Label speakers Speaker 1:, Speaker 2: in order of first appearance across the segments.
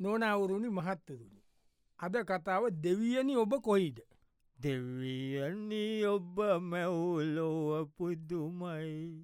Speaker 1: නොනවුරුණි මහත්තතුනි. අද කතාව දෙවියනි ඔබ කොයිද.
Speaker 2: දෙවියන්නේ ඔබ මැවුලෝව පුදුමයි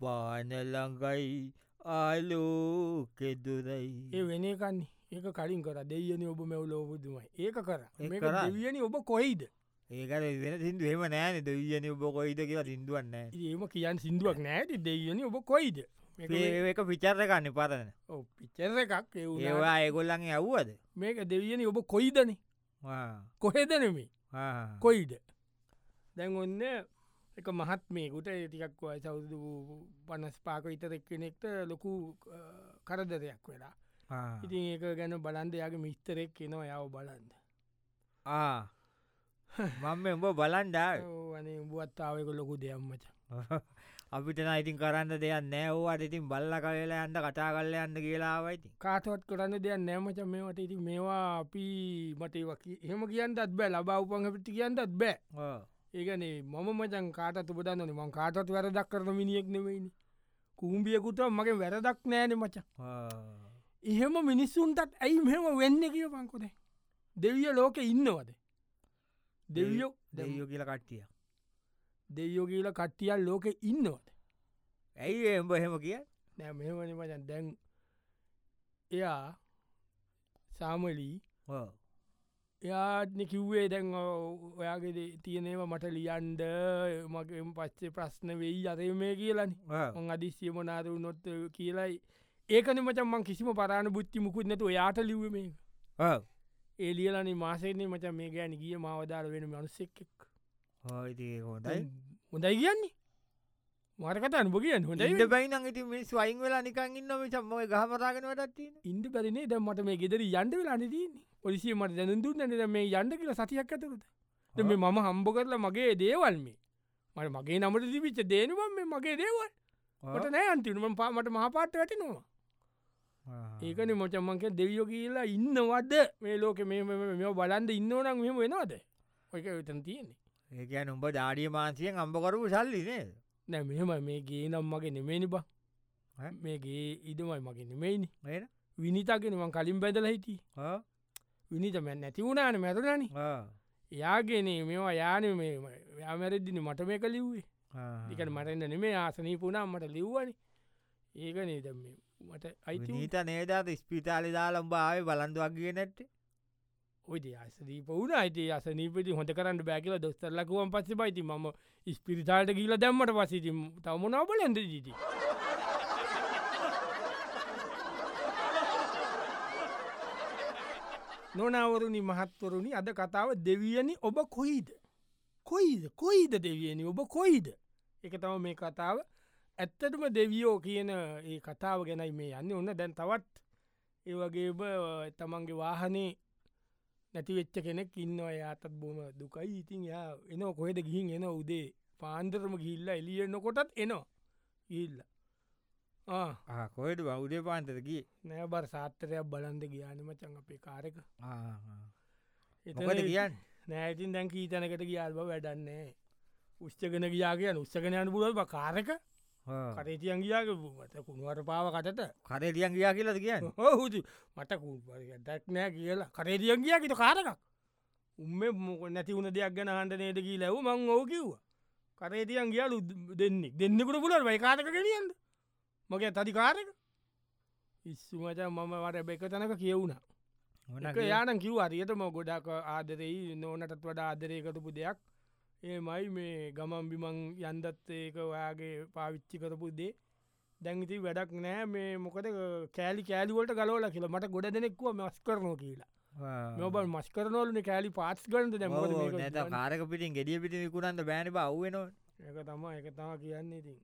Speaker 2: පානළඟයි ආලෝකෙදුරයි
Speaker 1: ඒ වෙනකන්නේ ඒක කලින් කර දෙයනි ඔබ මැවලෝබුදුමයි ඒක කර
Speaker 2: ඒක
Speaker 1: මේක
Speaker 2: කරා.
Speaker 1: දෙවියනි ඔබ කොයිද
Speaker 2: ඒකට වෙන සිින්දු එම නෑන දෙවියන ඔබ කොයිද කියලා සිින්දුවන්න
Speaker 1: ඉතින් ඒම කියන් සිින්දුවක් නෑති දෙයනි ඔබ කොයිද මේක මේ-
Speaker 2: ඒක විචර්රකන්න පරන
Speaker 1: ඔව් පිච්චර එකක් ඒ වුණාට
Speaker 2: ඒවා ඒගොල්ලන් ඇව්වද
Speaker 1: මේක දෙවියනි ඔබ කොයිදන කොහෙදනමේ කොයිද දැන් ඔන්න එක මහත් මේකුට ඒටිකක් වයි සෞදු පනස් පාක ඉතරෙක් කෙනෙක්ට ලොකු අ, කරදරයක් වෙලා ඉතින් ඒක ගැන බලන්දයාගේ මිස්තරෙක් කෙනවා යව බලන්ද
Speaker 2: මම උඹ බලන්ඩාව
Speaker 1: ඕනේ උඹුවත්තාවක ලොකු දෙයම්මච
Speaker 2: අපිටන ඉතින් කරන්න දෙයක් නෑවවාට ඉතින් බල්ල කවෙලා ඇන්ට කටා කල්ල යන්න කියලාවයිති
Speaker 1: කාටවත් කරන්න දෙයක් නෑමච මේවට ඉති මේවා අපි මටවකි එහෙම කියන්නත් බෑ ලබා උපන් අපිට කියන්නත් බෑ ඒකනේ මම මචන් කාටත් උපදන්නන මං කාටත් වැරදක් කරන මිනිියෙක් නෙවෙයිනි කුම්ඹියකුට මගේ වැරදක් නෑන මච එහෙම මිනිස්සුන්ටත් ඇයි මෙම වෙන්න කිය පංකොදේ දෙවිය ලෝක ඉන්නවද දෙවියෝ
Speaker 2: දෙවියෝ කියල කට්ටිය
Speaker 1: දෙවියෝ කියල කට්ටියල් ලෝක ඉන්නවද
Speaker 2: ඇයි එම්බ හෙම කිය
Speaker 1: නෑ මෙමනි මචන් දැන් එයා සාමලී
Speaker 2: ඕ.
Speaker 1: එයාත්න කිව්වේ දැන් ඔ- ඔයාගේ දේ තියනෙව මට ලියන්ඩ මගේ පච්චේ ප්‍රශ්න වෙයි අරය මේ කියලනි
Speaker 2: ඕ.
Speaker 1: මං අදිස්්‍යය මනාද නොත් කියලයි ඒකන මචන් මං කිසිම පරාණ බුද්ධි මුකුත් නැතු යාට ලිව මේ
Speaker 2: ඕ.
Speaker 1: ඒලියලනි මාසේනේ මචන් මේ ගැන ගිය මවදාර වෙන මනුස්සෙක්ෙක්
Speaker 2: ඕ, ඉතින් ඒක හොඳයි
Speaker 1: හොඳයි කියන්නේ මරකට අනුප කියන්න
Speaker 2: ඉන්න
Speaker 1: හොඳයි
Speaker 2: බයින ඉති මිස් වයින් වෙලා නිකන් ඉන්න සම්මගේ ගහමරාගෙන වැඩත්තින
Speaker 1: ඉන්ඩ පැරිනේ දැ මට මේ ගෙදර යන්ඩ වෙලා අනිදන්නේ පොලිසිය මට දැනඳු නැ මේ යන්ඩ කියල සතියක් ඇතුරද දැන් මේ මම හම්බ කරලා මගේ දේවල් මේ මට මගේ නමට දිවිච්ච දේනුවම් මේ මගේ දේවල් මට නෑ අන්තිනම පාමට මහපාට වැටනවා ඒකන මොචම්මන්ක දෙවියෝ කියලා ඉන්නවද මේ ලෝක මේ මෙ බලන්ද ඉන්නවනම් මෙම වෙනවාද ඔයක වෙතන් තියෙන්නේ
Speaker 2: ඒකන උඹ ඩාඩිය මාන්සියෙන් අම්ඹකරපු සල්ලිනේ
Speaker 1: නෑ මෙහම මේ ගේ නම් මගේ නෙමේනි බා
Speaker 2: ඈ?
Speaker 1: මේගේ ඉදමයි මගේ නෙමයිනි
Speaker 2: වෙන
Speaker 1: විනිතාගෙනවන් කලින් බැදල හිටී
Speaker 2: ඕ.
Speaker 1: විනිතම නැති වුණාන මැතරනනි
Speaker 2: ඕ.
Speaker 1: යාගෙන මේවා යාන යාමැරෙද්දින මට මේක ලිව්වේ
Speaker 2: ආ.
Speaker 1: දිකට මටන්න නෙමේ ආසනී පුුණා මට ලිව්වනි ඒක නේද මේ මට අයිති
Speaker 2: නීත නේදාත ස්පිතාලි දාලම් බාව බලන්දුවක් කිය නැට්ට
Speaker 1: ඔයිද අසදී පවුන අයිති අසනීපති හොට කරන්න බෑකිල දොස්තරලකුවන් පස්ස පයිති මම ස්පිරිතාලට කියීල දැම්මට පසිති තවමනාවල ඇඳ ජීති නොනවරුණි මහත්වරුණි අද කතාව දෙවියනි ඔබ කොයිද කොයිද කොයිද දෙවියනි ඔබ කොයිද එක තම මේ කතාව ඇත්තටම දෙවියෝ කියන ඒ කතාව ගැනයි මේ යන්න ඔන්න දැන් තවත් ඒ වගේ තමන්ගේ වාහනේ නැතිවෙච්ච කෙනෙක් ඉන්න යාතත් බොම දුකයි ඉතින් යා එන කොහෙද ගිහින් එන උදේ පාන්දරම ගිල්ල එලිය නොකොටත් එනවා ඉල්ල
Speaker 2: කොයට බෞද්ධ පාන්තරකි
Speaker 1: නෑ බර සාත්තරයක් බලන්ද ගියානම චං අපේ කාරක
Speaker 2: මොකට කියන්න
Speaker 1: නෑතින් දැන් කීතනකට ගියාල්බ වැඩන්නේ උෂ්චගෙන ගියා කියන උත්සගෙනයන පුලබ කාරක කරේතියන් ගියාග මත කුණුවර පාව කටට
Speaker 2: කරේ ලියන් ගියා කියලද කියන්න
Speaker 1: හුතු මට දැක් නෑ කියලා කරේටියන් ගියාකිට කාරකක් උම්ම මොක නැති වුණ දෙයක් ගැන හන්ට නේදකී ලැව මං ඕ කිව්වා කරේටියන් ගියලු දෙන්නෙක් දෙන්නෙකුට පුලට වයිකාරක කෙනියන්ද මගේ තති කාරක ඉස්සුමච මම වට බැක තනක කියවුණ
Speaker 2: ඕන
Speaker 1: එක
Speaker 2: කිය.
Speaker 1: යාන කිව් අරියටම ගොඩක් ආදරෙයි නෝනටත් වඩා ආදරයකටපු දෙයක් ඒමයි මේ ගමන් බිමං යන්දත් ඒක ඔයාගේ පාවිච්චි කරපු දේ දැංගිති වැඩක් නෑ මේ මොකද කෑලි කෑලිවලට ගලෝල කියලා මට ගොඩ දෙනෙක්ව මස් කරනෝ කියලා
Speaker 2: ආ.
Speaker 1: නොබල් මස් කරනෝලන කෑලි පාස් කරට දැම
Speaker 2: ඔව් ඔව් නැත කාරක පිටින් ගෙඩිය පිටි විකුණන්ද බෑන බව්වෙන
Speaker 1: එක තම එක තම කියන්නේ ඉතින්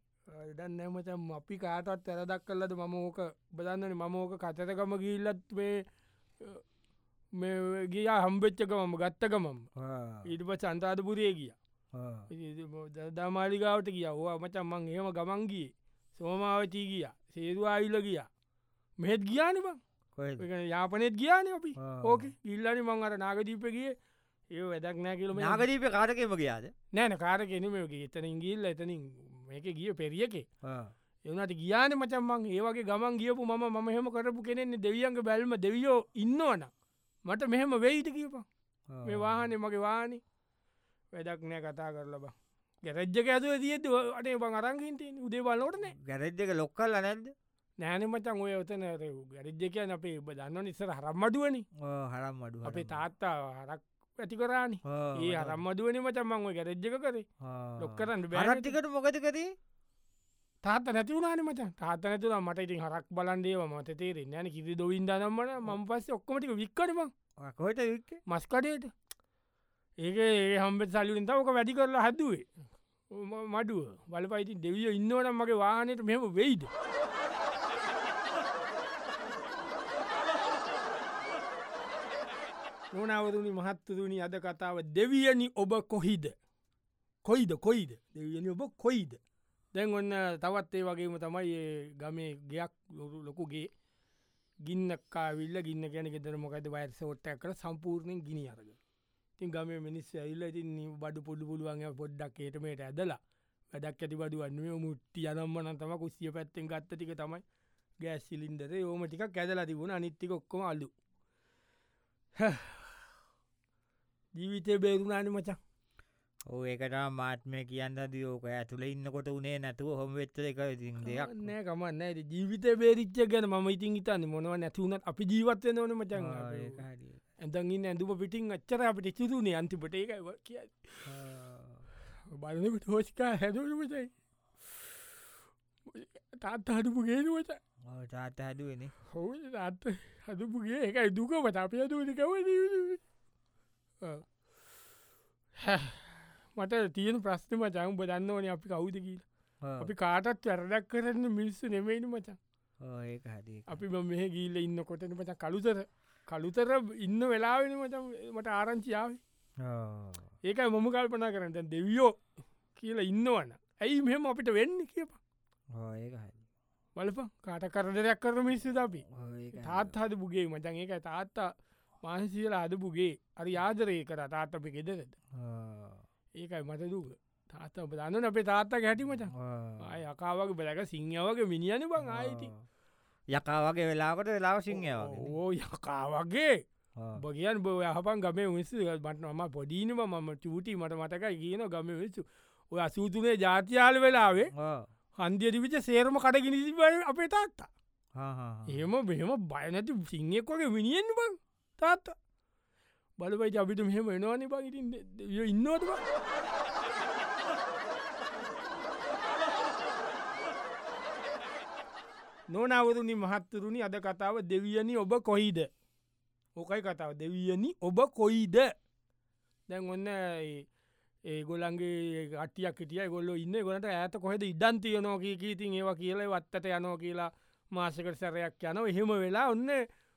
Speaker 1: දන්න නෑමචම් අපි කාටත් ඇරදක් කල්ලද මම ඕක බදන්නන මම ඕක කතරකම ගිල්ලත් මේ අ, මේ ගියා හම්බෙච්චක මම ගත්තකමම
Speaker 2: Ah.
Speaker 1: ඊට ප චන්තාධපුරේ ගිය දමාලිකාවට කිය ඕවා මචන් මං එහෙම ගමන්ගේ සෝමාවචී ගිය සේදු ආයිල්ල ගිය මෙහෙත් ගියානි බං එක යාපනෙත් ගියාන අපි
Speaker 2: ආ.
Speaker 1: ඕක ඉල්ලනි මං අර නාගදීපගේ ඒ වැඩක් නෑ කියලම
Speaker 2: නාගරීපය කාරකම කියාද
Speaker 1: නෑන කාර කෙනමගේ එතනින් ගිල්ල එතනින් මේක ගිය පෙරියකේ එවනට ගියාන මචම්මන් ඒවගේ ගමන් ගියපු ම මහෙම කරපු කෙනෙන්නේ දෙවියන්ගේ බැල්ම දෙවියෝ ඉන්නවන මට මෙහෙම වෙයිට කියපා මේ වාහනේ මගේ වානි වැඩක් නෑ කතා කරලබ ගැරජ්ජක ඇතුව තියද අටේ බං අරංගින්ට උදේ බලෝටන
Speaker 2: ගැරෙද්දක ලොක්කල්ල නැද්ද
Speaker 1: නෑන මචන් ඔය ඔතන ගැරජ්ජ කියන් අපේ ඔබ දන්න නිස්සර හරම්මඩුවනි
Speaker 2: ඕ, හරම් අඩු
Speaker 1: අපේ තාත්තා හරක් ඇති කරානි ඒ හරම්මදුවන මචම්මන් ඔය ගැරජ්ජක කරේ ලොක් කරන්න බැරට
Speaker 2: හරට්ටිකට මොකදකදී
Speaker 1: තාත්ත නැතිවුණන මච තාත නැතුව මට ඉතින් හරක් බලන්දේව මත තේරෙ යන කිසි දොවින්ද නම්මට මම පස්ස ඔක්කමටික වික්කරම
Speaker 2: කොහට වික්ක
Speaker 1: මස්කඩයට ඒක ඒ හම්බෙත් සල්ලින් තමක වැඩි කරලා හැදුවේ ම- මඩුව බලපයිති දෙවිය ඉන්නවනම් මගේ වානයට මෙම වෙයිද නොනවරුණි මහත්තතුනි අද කතාව දෙවියනි ඔබ කොහිද කොයිද කොයිද දෙවියනි ඔබ කොයිද දැන් ඔන්න තවත් ඒ වගේම තමයි ඒ ගමේ ගයක් ලොකු- ලොකුගේ ගින්නක්කාවිල්ල ගින්න ගැන ෙදර මොකද වයස ොට්ටක් කර සම්පූර්ණයෙන් ගිනි අරග තින් ගම මිනිස් ඇල්ල ඉතින් නිව බඩු පොඩු පුළුවන් පොඩ්ඩක් ඒටමට ඇදලා වැඩක් ඇති බඩු වන්නේ මුට්ටි අනම්මන තම කුස්සිය පැත්තෙන් ගත්ත ටික තමයි ගෑස් සිලින්දර ඕම ටික ඇදලා තිබුණ අනිත්තික ඔක්කොම අල්ලු ජීවිතය බේරුණානි මචා
Speaker 2: ඕ ඒකට මාත්මය කියන්න දියෝක ඇතුළ ඉන්නකොට උනේ නැතුව හොම වෙත්තර එක ඉතින් දෙයක්
Speaker 1: නෑ ගමන්න ඇ ජීවිත බේරිච්ච ගැන ම ඉතින් ඉතන්න මොනව නැතිවුණත් අපි ජීවත්වය නොන මචන්
Speaker 2: ආ, ඒක හරියට.
Speaker 1: ඇඳගන්න ඇඳුම පිටින් අච්චර අපිට චිරුණේ අන්තිපට ඒකව කිය
Speaker 2: ආ.
Speaker 1: බලනකට හෝෂිකා හැදරමටයි තාත් හඩපු ගේනුවට
Speaker 2: ඔව්, තාත්තා හැදුවෙන
Speaker 1: හෝ තාත් හදපුගේ එකයි දුකමට අප දකව මට තියෙන ප්‍රශ්නම ජයම් බදන්න ඕන අපි කවුද කියලා අපි කාටත් වැරදක් කරන්න මිනිස්සු නෙමයිනි මචන්
Speaker 2: ඒක හරි
Speaker 1: අපි බ මෙහ ගීල්ල ඉන්න කොටන මච කළුතර කළුතර ඉන්න වෙලාවෙන මචන් මට ආරංචියාව ඒකයි මොම කල්පනා කරන්න දැන් දෙවියෝ කියලා ඉන්නවන්න ඇයි මෙම අපිට වෙන්න කියප
Speaker 2: ඒක
Speaker 1: බලප කාට කරදරයක් කරන මිස්සද අපි
Speaker 2: හරි
Speaker 1: තාත්හද පුගේ මචන් ඒක තාත්තා මානසිලා අද පුගේ අරි ආදරය කර තාත්ත අපි ගෙදරද ඒකයි මත දුක තාත්ත දන්න අපේ තාත්තා හැටි මචන් ආය අකාවගේ බලක සිංහවගේ මිනිියන බං ආයිති
Speaker 2: යකාවගේ වෙලාකට වෙලාව සිංහයවගේ
Speaker 1: ඕ යකාවගේ බගියන් බෝ යහපන් ගමේ විස්සු බට ම පොඩීනම මම චූටි මට මටකයි කියන ගම වෙච්චු ඔය අසූතුනේ ජාතියාල වෙලාවේ හන්දිියටිවිච සේරම කඩගිනිසිබල අපේ තාත්තා එහෙම මෙහෙම බයනැති සිංහෙක්කොගේ විනිියෙන් බං තාත්තා බලපයි අපිට මෙහෙම එනවානි බගිටින් ඉන්නවතුවා නොනවරුණි මහත්තරුණි අද කතාව දෙවියනි ඔබ කොයිද ඕකයි කතාව දෙවියනි ඔබ කොයිද දැන් ඔන්න ඒ- ඒ ගොල්න්ගේ ගටියක් හිටිය ගොල්ල ඉන්න ගොට ඇත කොහෙද ඉඩන් තියනෝකීකීතින් ඒවා කියල වත්තට යනෝ කියලා මාසකට සැරයක් යන එහෙම වෙලා ඔන්න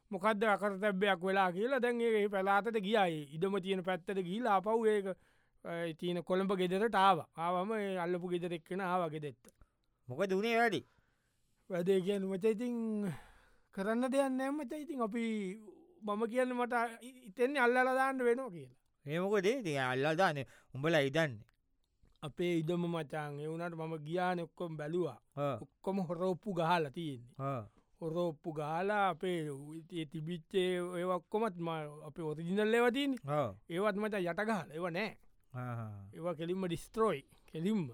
Speaker 1: මොකක්ද අකරතැබ්බයක් වෙලා කියලා දැන් ඒ පැලාතට ගියයි ඉඩම තියෙන පැත්තට ගීලා අපව් ඒක ඒ තියන කොළඹ ගෙදරට ආව ආවම ඒ අල්ලපු ගෙදරෙක්කෙන ආවගෙදෙත්
Speaker 2: මොක දුනේ වැඩි
Speaker 1: වැදේ කියන මචයිතින් කරන්න දෙයන්න මචයිතින් අපි මම කියන්න මට ඉතෙන්නේ අල්ලලදාන්න වෙනවා කියලා
Speaker 2: ඒමකොදේ ති අල්ලාදාන උඹල ඉදන්න
Speaker 1: අපේ ඉඩම මචාන් එවුනට මම ගියාන ඔක්කොම් බැලවා ඔක්කොම හොරෝප්පු ගහලා තියෙන්නේ හොරෝප්පු ගාලා අපේ ඒ තිබිච්චේ ඒ ඔක්කොමත් ම අප ඔරිජිනල් ඒවතින් ඒවත් මච යටගහල ඒව නෑ ඒවා කෙලින්ම ඩිස්ත්‍රෝයි කෙලින්ම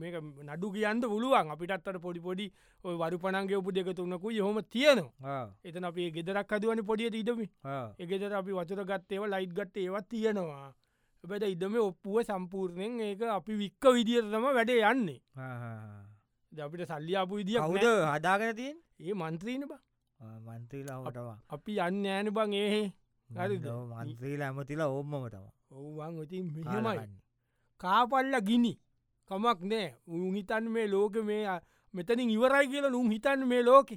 Speaker 1: මේක නඩු කියන්න පුළුවන් අපිටත්තට පොඩි පොඩි ඔය වරු පනන්ගේ උපු දෙක තුන්නකු යොම තියෙනවා එතන අපේ ගෙදරක් අදුවන පොඩියට ඉඩම එකෙදර අපි වචර ගත්තේව ලයිට් ගත්ත ඒවත් තියෙනවා එබට ඉඩම ඔප්පුුව සම්පූර්ණයෙන් ඒක අපි වික්ක විදිරතම වැඩේ යන්නේ ද අපිට සල්ලියාපු විදිිය
Speaker 2: කවුද හදාගෙන තියෙන්
Speaker 1: ඒ මන්ත්‍රීන බ
Speaker 2: මන්ත්‍රීලා හටවා
Speaker 1: අපි යන්න ෑන බං ඒහෙ හරිද?
Speaker 2: මන්ත්‍රීලා ඇමතිලා ඕම්මටම
Speaker 1: ඔවුවන් ඉතින් මෙහෙමයි කාපල්ල ගිනි කමක් නෑ උහිතන් මේ ලෝක මේ අ- මෙතනින් ඉවරයි කියලා නුම් හිතන් මේ ලෝකෙ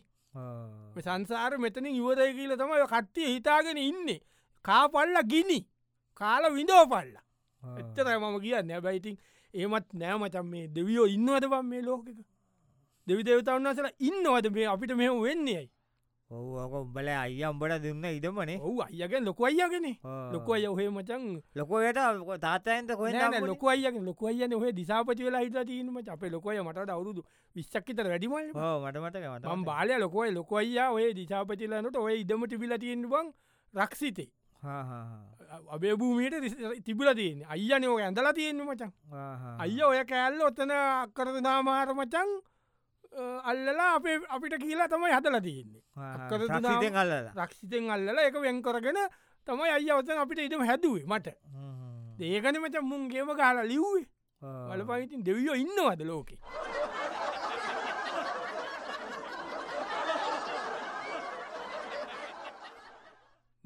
Speaker 1: මේ සංසාර මෙතනින් ඉවරයි කියල තමයි කට්ටිය හිතාගෙන ඉන්නේ කාපල්ල ගිනි කාල විඳෝපල්ල
Speaker 2: Ah.
Speaker 1: එච්චරයි මම කියන්න හැබැයිතින් ඒමත් නෑමචන් මේ දෙවියෝ ඉන්නවද බම් මේ ලෝකක දෙවි දෙවතවන්නසල ඉන්නවද මේ අපිට මෙහ වෙන්නේයි
Speaker 2: ඔහෝක උඹල අයි අම්බට දුන්න ඉඩමනේ
Speaker 1: ඔහු අයගෙන් ලොකු අයියගෙන
Speaker 2: Ah.
Speaker 1: ලොකු අය ඔහේ මචන්
Speaker 2: ලොකෝයට තාතයන්ත කොහ
Speaker 1: නෑ ලොකු අයගෙන් ලොකු අයන ඔහ දිසාපති වෙලා හිත තීම අපේ ලොකය මට අවුරුදු විස්සක්කිත වැඩිමල්
Speaker 2: Ah. මටමට මට
Speaker 1: ම් බාලය ලොකයි ලොක අයියා ඔය දිසාපතිලනට ඔය ඉඩමට පිලතියෙන් බං රක්සිතේ අබේ භූමයට තිබල තියෙන අයියන ඕක ඇඳලා තියෙන්න්න මචන් අයිය ඔය කෑල්ල ඔත්තන අක්කරද නාමාර මචන් අ, අල්ලලා අපේ අපිට කියලා තමයි හදලා තියෙන්නේ අක්කර දුනාම-
Speaker 2: ්‍රක්සිතෙන් කල්ලද
Speaker 1: රක්ෂිතෙන් අල්ලලා එක වෙන් කරගෙන තමයි අයි අවතන අපිට ඉටම හැදුවේ මට ඒකන මච මුන්ගේම කාලා ලිව්වේ වල පහිතින් දෙවියෝ ඉන්නවද ලෝකෙ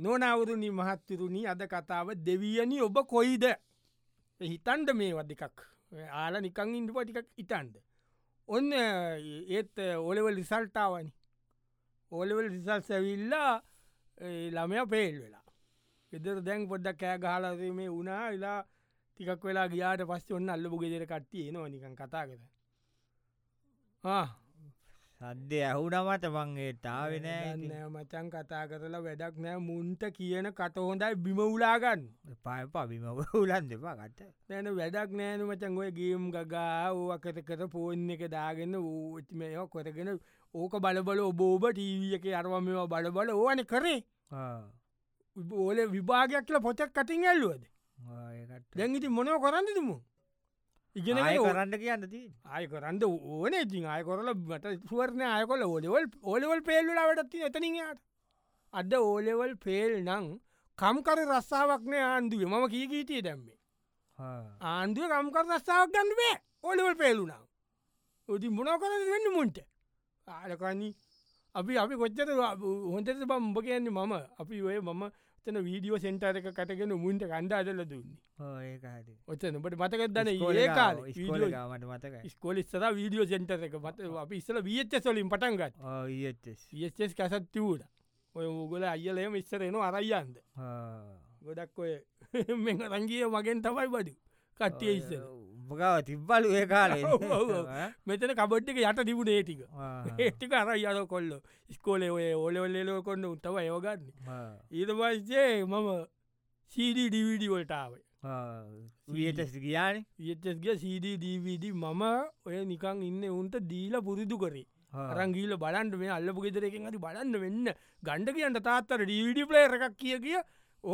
Speaker 1: නොනවුරුණි මහත්තුරුණි අද කතාව දෙවියනි ඔබ කොයිද හිතන්ඩ මේ වදිකක් ආල නිකං ඉන්ඩුව ටිකක් ඉටන්ඩ ඔන්න ඒත් ඕලෙවල් රිසල්ටාවනි ඕලෙවල් රිසල් සැවිල්ලා ඒ ළමය පේල් වෙලා එදර දැන් පොඩ්ඩක් කෑ ගහලාද මේ උනා වෙලා තිකක් වෙලා ගියාට පස්ස ඔන්න අල්ලපු ගෙදර කට්ටිය නවා නිකන් කතා කර
Speaker 2: සද්‍ය ඇහුනමට මංගේ තාවෙනෑ
Speaker 1: නෑ මචන් කතා කරලා වැඩක් නෑ මුන්ට කියන කට හොඳයි බිම උලාගන්න
Speaker 2: පාය පබිම උලන් දෙපා කට
Speaker 1: දැන වැඩක් නෑන මචන් ඔය ගේම් ගගා ඕකට කර පෝන් එක දාගන්න ඌත්ම කොරගෙන ඕක බලබල ඔබෝබ ටීවිය එක අරවම මේවා බලබල ඕන කරේ ඕල විභාගයක් කියල පොචක් කටින් ඇල්ලුවද දැන්ගිති මොනව කරන්න තුමු ඉගෙන
Speaker 2: ආය කරන්න කියන්න ති
Speaker 1: ආය කරන්න ඕන ඉතින් ආය කොරල මට සුවරණය ආය කොල ඕලෙවල් ඕලෙවල් පේල්ලටත්ති එතනින්යාට අද ඕලෙවල් පේල් නං කම්කර රස්සාාවක්නය ආණ්ඩුවේ මම කීකීටය දැම්මේ ආණ්ඩුව කම්කර රස්සාාවක් ගන්නුවේ ඕලෙවල් පේලුනම් උති මොනකර වෙන්න මුන්ට ආලකනී අපි අපි කොච්චර හොන්තෙස බම්බ කියන්නේ මම අපි ඔය මම තන වීඩියෝ සෙන්ටර් එක කටගෙන මුන්ට කණ්ඩා අදල දුන්නේ ඔත්තන ඔබට මතකදන ඒ කාල වීඩියෝ
Speaker 2: ඒකාලට මතකයි
Speaker 1: ස්කොල ස්සර වීඩියෝ සෙන්ටර එක මත අපි ඉස්සල වියච්ච සොලින් පටන් ගත්
Speaker 2: ඒස්
Speaker 1: ස් කැසත්තිවූට ඔය මුගල අයලයම ඉස්සරෙන අරයියන්ද ගොඩක් ඔය මෙ රංගිය මගෙන් තමයි බඩු කට්ටිය ඉස්සර
Speaker 2: උපකාව තිබ්බලු ඒ කාලේ
Speaker 1: ඔව්, ඔව්, ඔව්. මෙතන කබඩ්ටික යට තිබුණ ඒටික ඒටික අර අර කොල්ල ස්කෝලේ ඔය ඕලෙවල්ලෝ කොන්න උත්තව යෝගන්න ඊට පස්සේ මම සීඩීඩිවිඩිවල්ටාවේ
Speaker 2: වියටස් ගියාන
Speaker 1: ඒච්ගේ සීඩීඩවිඩ මම ඔය නිකං ඉන්න උන්ට දීල පුරුදු කරේ රංගීල බලන්ට මේ අල්ලපු ගෙදරකින් හරි බලන්න වෙන්න ගණඩ කියන්න තාත්තර ඩීවිඩි ප්ලේ එකක් කිය කිය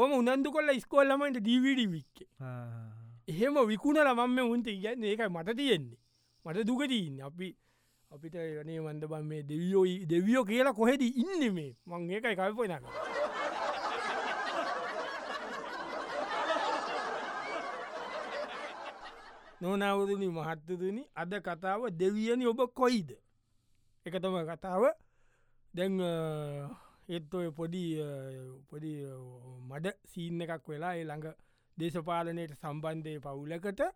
Speaker 1: ඕම උනන්දු කොල්ල ස්කොල්ලමට ඩීවිඩි වික්ක එහෙම විකුණ ලමම්ම උන්ට කියන්න ඒකයි මට තියෙන්නේ මට දුකතින් අපි අපිට ඒනේ මන්ද බන් මේ දෙවියෝයි දෙවියෝ කියලා කොහෙද ඉන්න මේ මං ඒකයි කල්පන නොනවරණ මහත්තතුනි අද කතාව දෙවියනි ඔබ කොයිද එකතම කතාව දැන් එත් ඔය පොඩි අ, පොඩි අ, මඩ සීන්න එකක් වෙලා ඒ ළඟ දේශපාලනයට සම්බන්ධය පවුලකට අ,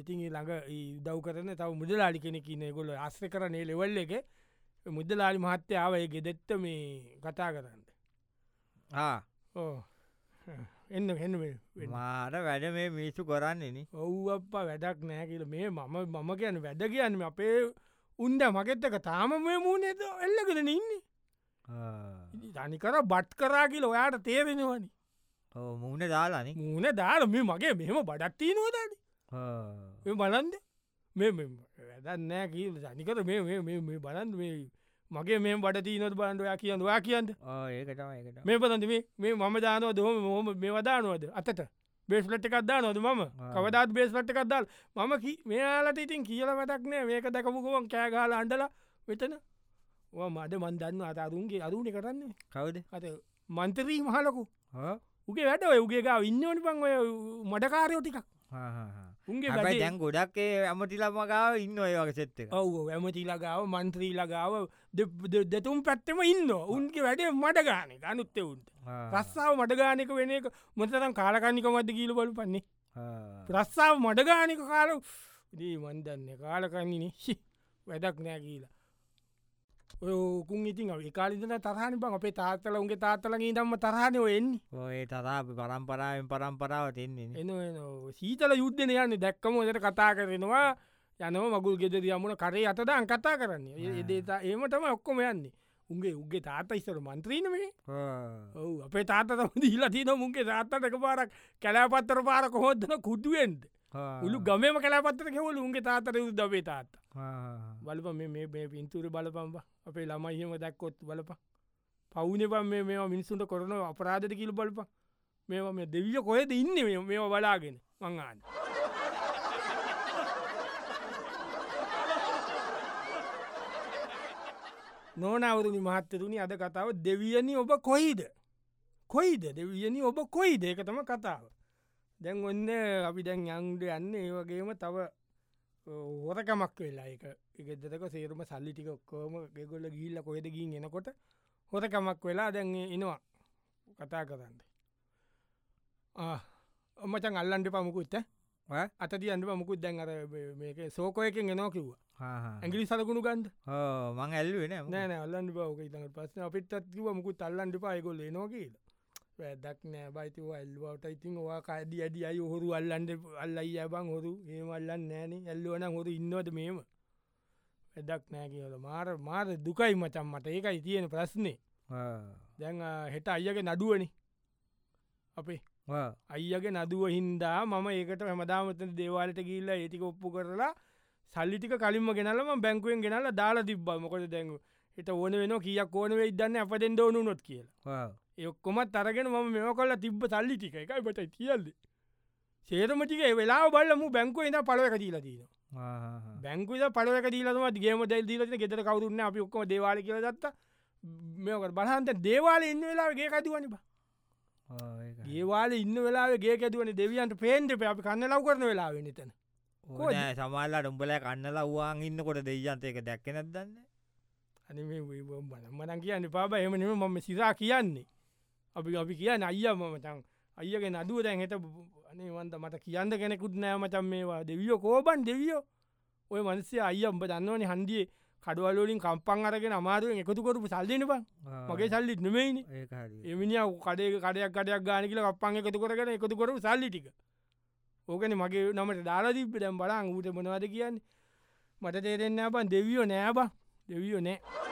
Speaker 1: ඉතින් ඒ ළඟ දව් කරන තව මුදලාලි කෙනෙ කියන ගොල අස්ස කරනේ ලෙවල් එක මුදලාලි මහත්‍යාවය ගෙදෙත්ත මේ කතා කරන්න ඕ එන්න හෙන්න
Speaker 2: මාර වැඩ මේ මිස්සු කරන්නේන
Speaker 1: ඔව් අප්පා වැඩක් නෑ කියල මේ මම මම කියන වැඩ කියන්න අපේ උන්ඩ මගෙත්තක තාම මේ මූුණේද එල්ලගෙන ඉන්නේ ධනිකර බට් කරා කියල ඔයාට තේරෙනවනි
Speaker 2: මුහුණ දාලාන
Speaker 1: මූුණ දාල මේ මගේ මෙහෙම බඩක්තිී නොදට මේ බලන්ද මේ වැදන්නෑ කියල ධනිකර මේ මේ- මේ මේ බලන් මේ මගේ මේ බඩ නොත් බලන්ට ඔයා කියන්න වා කියන්න
Speaker 2: ඒකටම ඒකට
Speaker 1: මේ පතන්ති මේ මේ මම දානව දොහම මොහම මේ වදානුවද අතට බේස්ලට් එකක්දා නොද ම කවදත් බේස්ලට් එකක්දල් මම කි- මෙයාලට ඉතින් කියල වැටක් නෑ මේක දැකපුකුවන් කෑගාල අන්ඩල වෙතන ඔය මද මන්දන්න අත අරුන්ගේ අරුණි කරන්නේ
Speaker 2: කවුද
Speaker 1: අත මන්තරී මහලකු උගේ වැට ඔයගේ ගා ඉන්නවනි පං ඔය මඩකාරයෝ ටිකක් උන්ගේ
Speaker 2: හැබයි
Speaker 1: වැඩේ-
Speaker 2: දැන් ගොඩක් ඇමටිලමගාව ඉන්න ඔය වගේ සෙත්තක
Speaker 1: ඔව් ඇමති ලගාව මන්ත්‍රී ලගාව දෙප්- දෙ- දෙතුම් පැත්තම ඉන්න උන්ගේ වැඩේ මඩගානය අනුත්තවුන්ට රස්සාාව මඩගානක වෙන එක මොතරම් කාලකනික මද කියීල බොලු පන්නේ ප්‍රස්සාාව මඩගානක කාල දී මන්දන්න කාලකන්නේනේ වැඩක් නෑ කියලා ඔයකුන් ඉතින් කාලිදන තරහණ බං අපේ තාත්තල උන්ගේ තාත්තලගේ දම්ම තරහණය ඔයන්නේ
Speaker 2: ඔය තරා පරම්පරාවෙන් පරම්පරාවට එන්නේ
Speaker 1: එන සීතල යුද්ධන යන්න දැක්කම ඔදට කතා කරනවා යනම මගුල් ගෙදර යමුණ කරේ අතදාන් කතා කරන්නේ ඒදේතා ඒමටම ඔක්කොම යන්නේ උන්ගේ උගේ තාත ඉස්සර මන්ත්‍රීනවේ ඔව අපේ තාත තම දීලතින මුන්ගේ තාත්තටක පාරක් කැලාපත්තර පාර කොහොදන කුටුවෙන්ද උළු ගමම කලාපත්තර කෙවල උන්ගේ තාතර යුද දබේ තාත්ත බලප මේ මේ මේ පින්තුර බලපම්බ අපේ ළමයිහෙම දැක්කොත් බලප පවුනපම් මේ මේ මිනිසුන්ට කරන අපරාධට කිලු බලප මේ මේ දෙවිය කොහෙද ඉන්න මේ බලාගෙන මංආන්න නෝනවරුනි මහත්තරුණි අද කතාව දෙවියනි ඔබ කොයිද කොයිද දෙවියනි ඔබ කොයි දෙක තම කතාව දැන් ඔන්න අපි දැන් යංඩ යන්න ඒ වගේම තව හොරකමක් වෙලා එක එකදක සේරුම සල්ලි ටික ඔක්කෝම ගෙගොල්ල ගිල්ල කොහෙද ගින් එනකොට හොරකමක් වෙලා දැන් ඒ එනවා කතා කරන්න ඔමචන් අල්ලන්ට පමුකුත් අතති අන්ඩ පමුකුත් දැන් අර මේක සෝකයකෙන් එනවා කිව්වා ඇගිලි සලකුණු ගන්ද
Speaker 2: මං ඇල්ලුවෙන
Speaker 1: නෑන අල්ලන්න බවක තන පස්සන අපිත් අත්කිව මුකු තල්ලන්ට පායකොල නොකේද වැදක් නෑ බයිතිව ඇල්වාට ඉතින් වා කාඩි අඩි අය හොරු අල්ලන්ට අල්ලයි යබං හොරු ඒමල්ලන්න නෑන ඇල්ලුවන හොරු ඉන්නවට මේම වැදක් නෑ කියල මාර මාර දුකයි මචම් මට ඒකයි තියෙන ප්‍රශ්නේ දැන් ආ, හෙට අයගේ නඩුවනි අපේ අයිගේ නදුව හින්දා මම ඒකට හැමදාමත දේවාලට ගිල්ල ඒතික ඔප්පු කරලා සල්ලිටික කලින්ම ගෙනලම බැංකුවෙන් ගෙනල දාලා තිබ්බමකොට දැන්ගු එට ඕන වෙන කියක් ඕන ඉදන්න අපතෙන් ඕනු නොත් කියලා එක්කොමත් අරගෙන ම මෙම කොල්ලා තිබ්බ සල්ලි ටික එකයි පට තියල්ද සේරමටික වෙලා බලම බැංකුව ඉද පලවක දීලා දීන බැංකුද පලවක දීලතුමත් ගේම දැල් දීලට ගෙතර කවරුන්න අපි ඔක්කම දේවාල කියල දත්ත මේකට බලහන්ත දේවාල ඉන්න වෙලාගේ කතිවනි බ ඒවාල ඉන්න වෙලාගේ ඇතුවන දෙවියන්ට පේන්ට ප අපි කන්න ලව කරන වෙලා වෙනතන කොහෙද?
Speaker 2: සමල්ලට උඹල කන්නල වාන් ඉන්න කොට දෙයියන්තයක දැක්ක නැදන්න
Speaker 1: අනි මනන් කියන්න පාබ එමනම මම සිරා කියන්නේ අපි අපි කියන්න අයිය මමතන් අයගේ නදුව දැන් හට අනේවන්ත මට කියන්න කෙනෙකුත් නෑ මචන් මේවා දෙවියෝ කෝබන් දෙවියෝ ඔය මනසේ අයිය උඹ දන්නවනේ හන්දියේ කඩවලෝලින් කම්පන් අරගෙන අමාරුවෙන් එකතු කරපු සල්ලන බ මගේ සල්ලිත් නෙමයිනි එමිනිිය කඩේ කඩයක් කඩයක් ගාන කියල අපන් එකතු කරගෙන එකතු කරු සල්ලිටික ඕකන මගේ නමට දාලාදිීප දැම් බලා අංගුට මොනවද කියන්න මට තේරෙන්න්න බන් දෙවියෝ නෑබ දෙවියෝ නෑ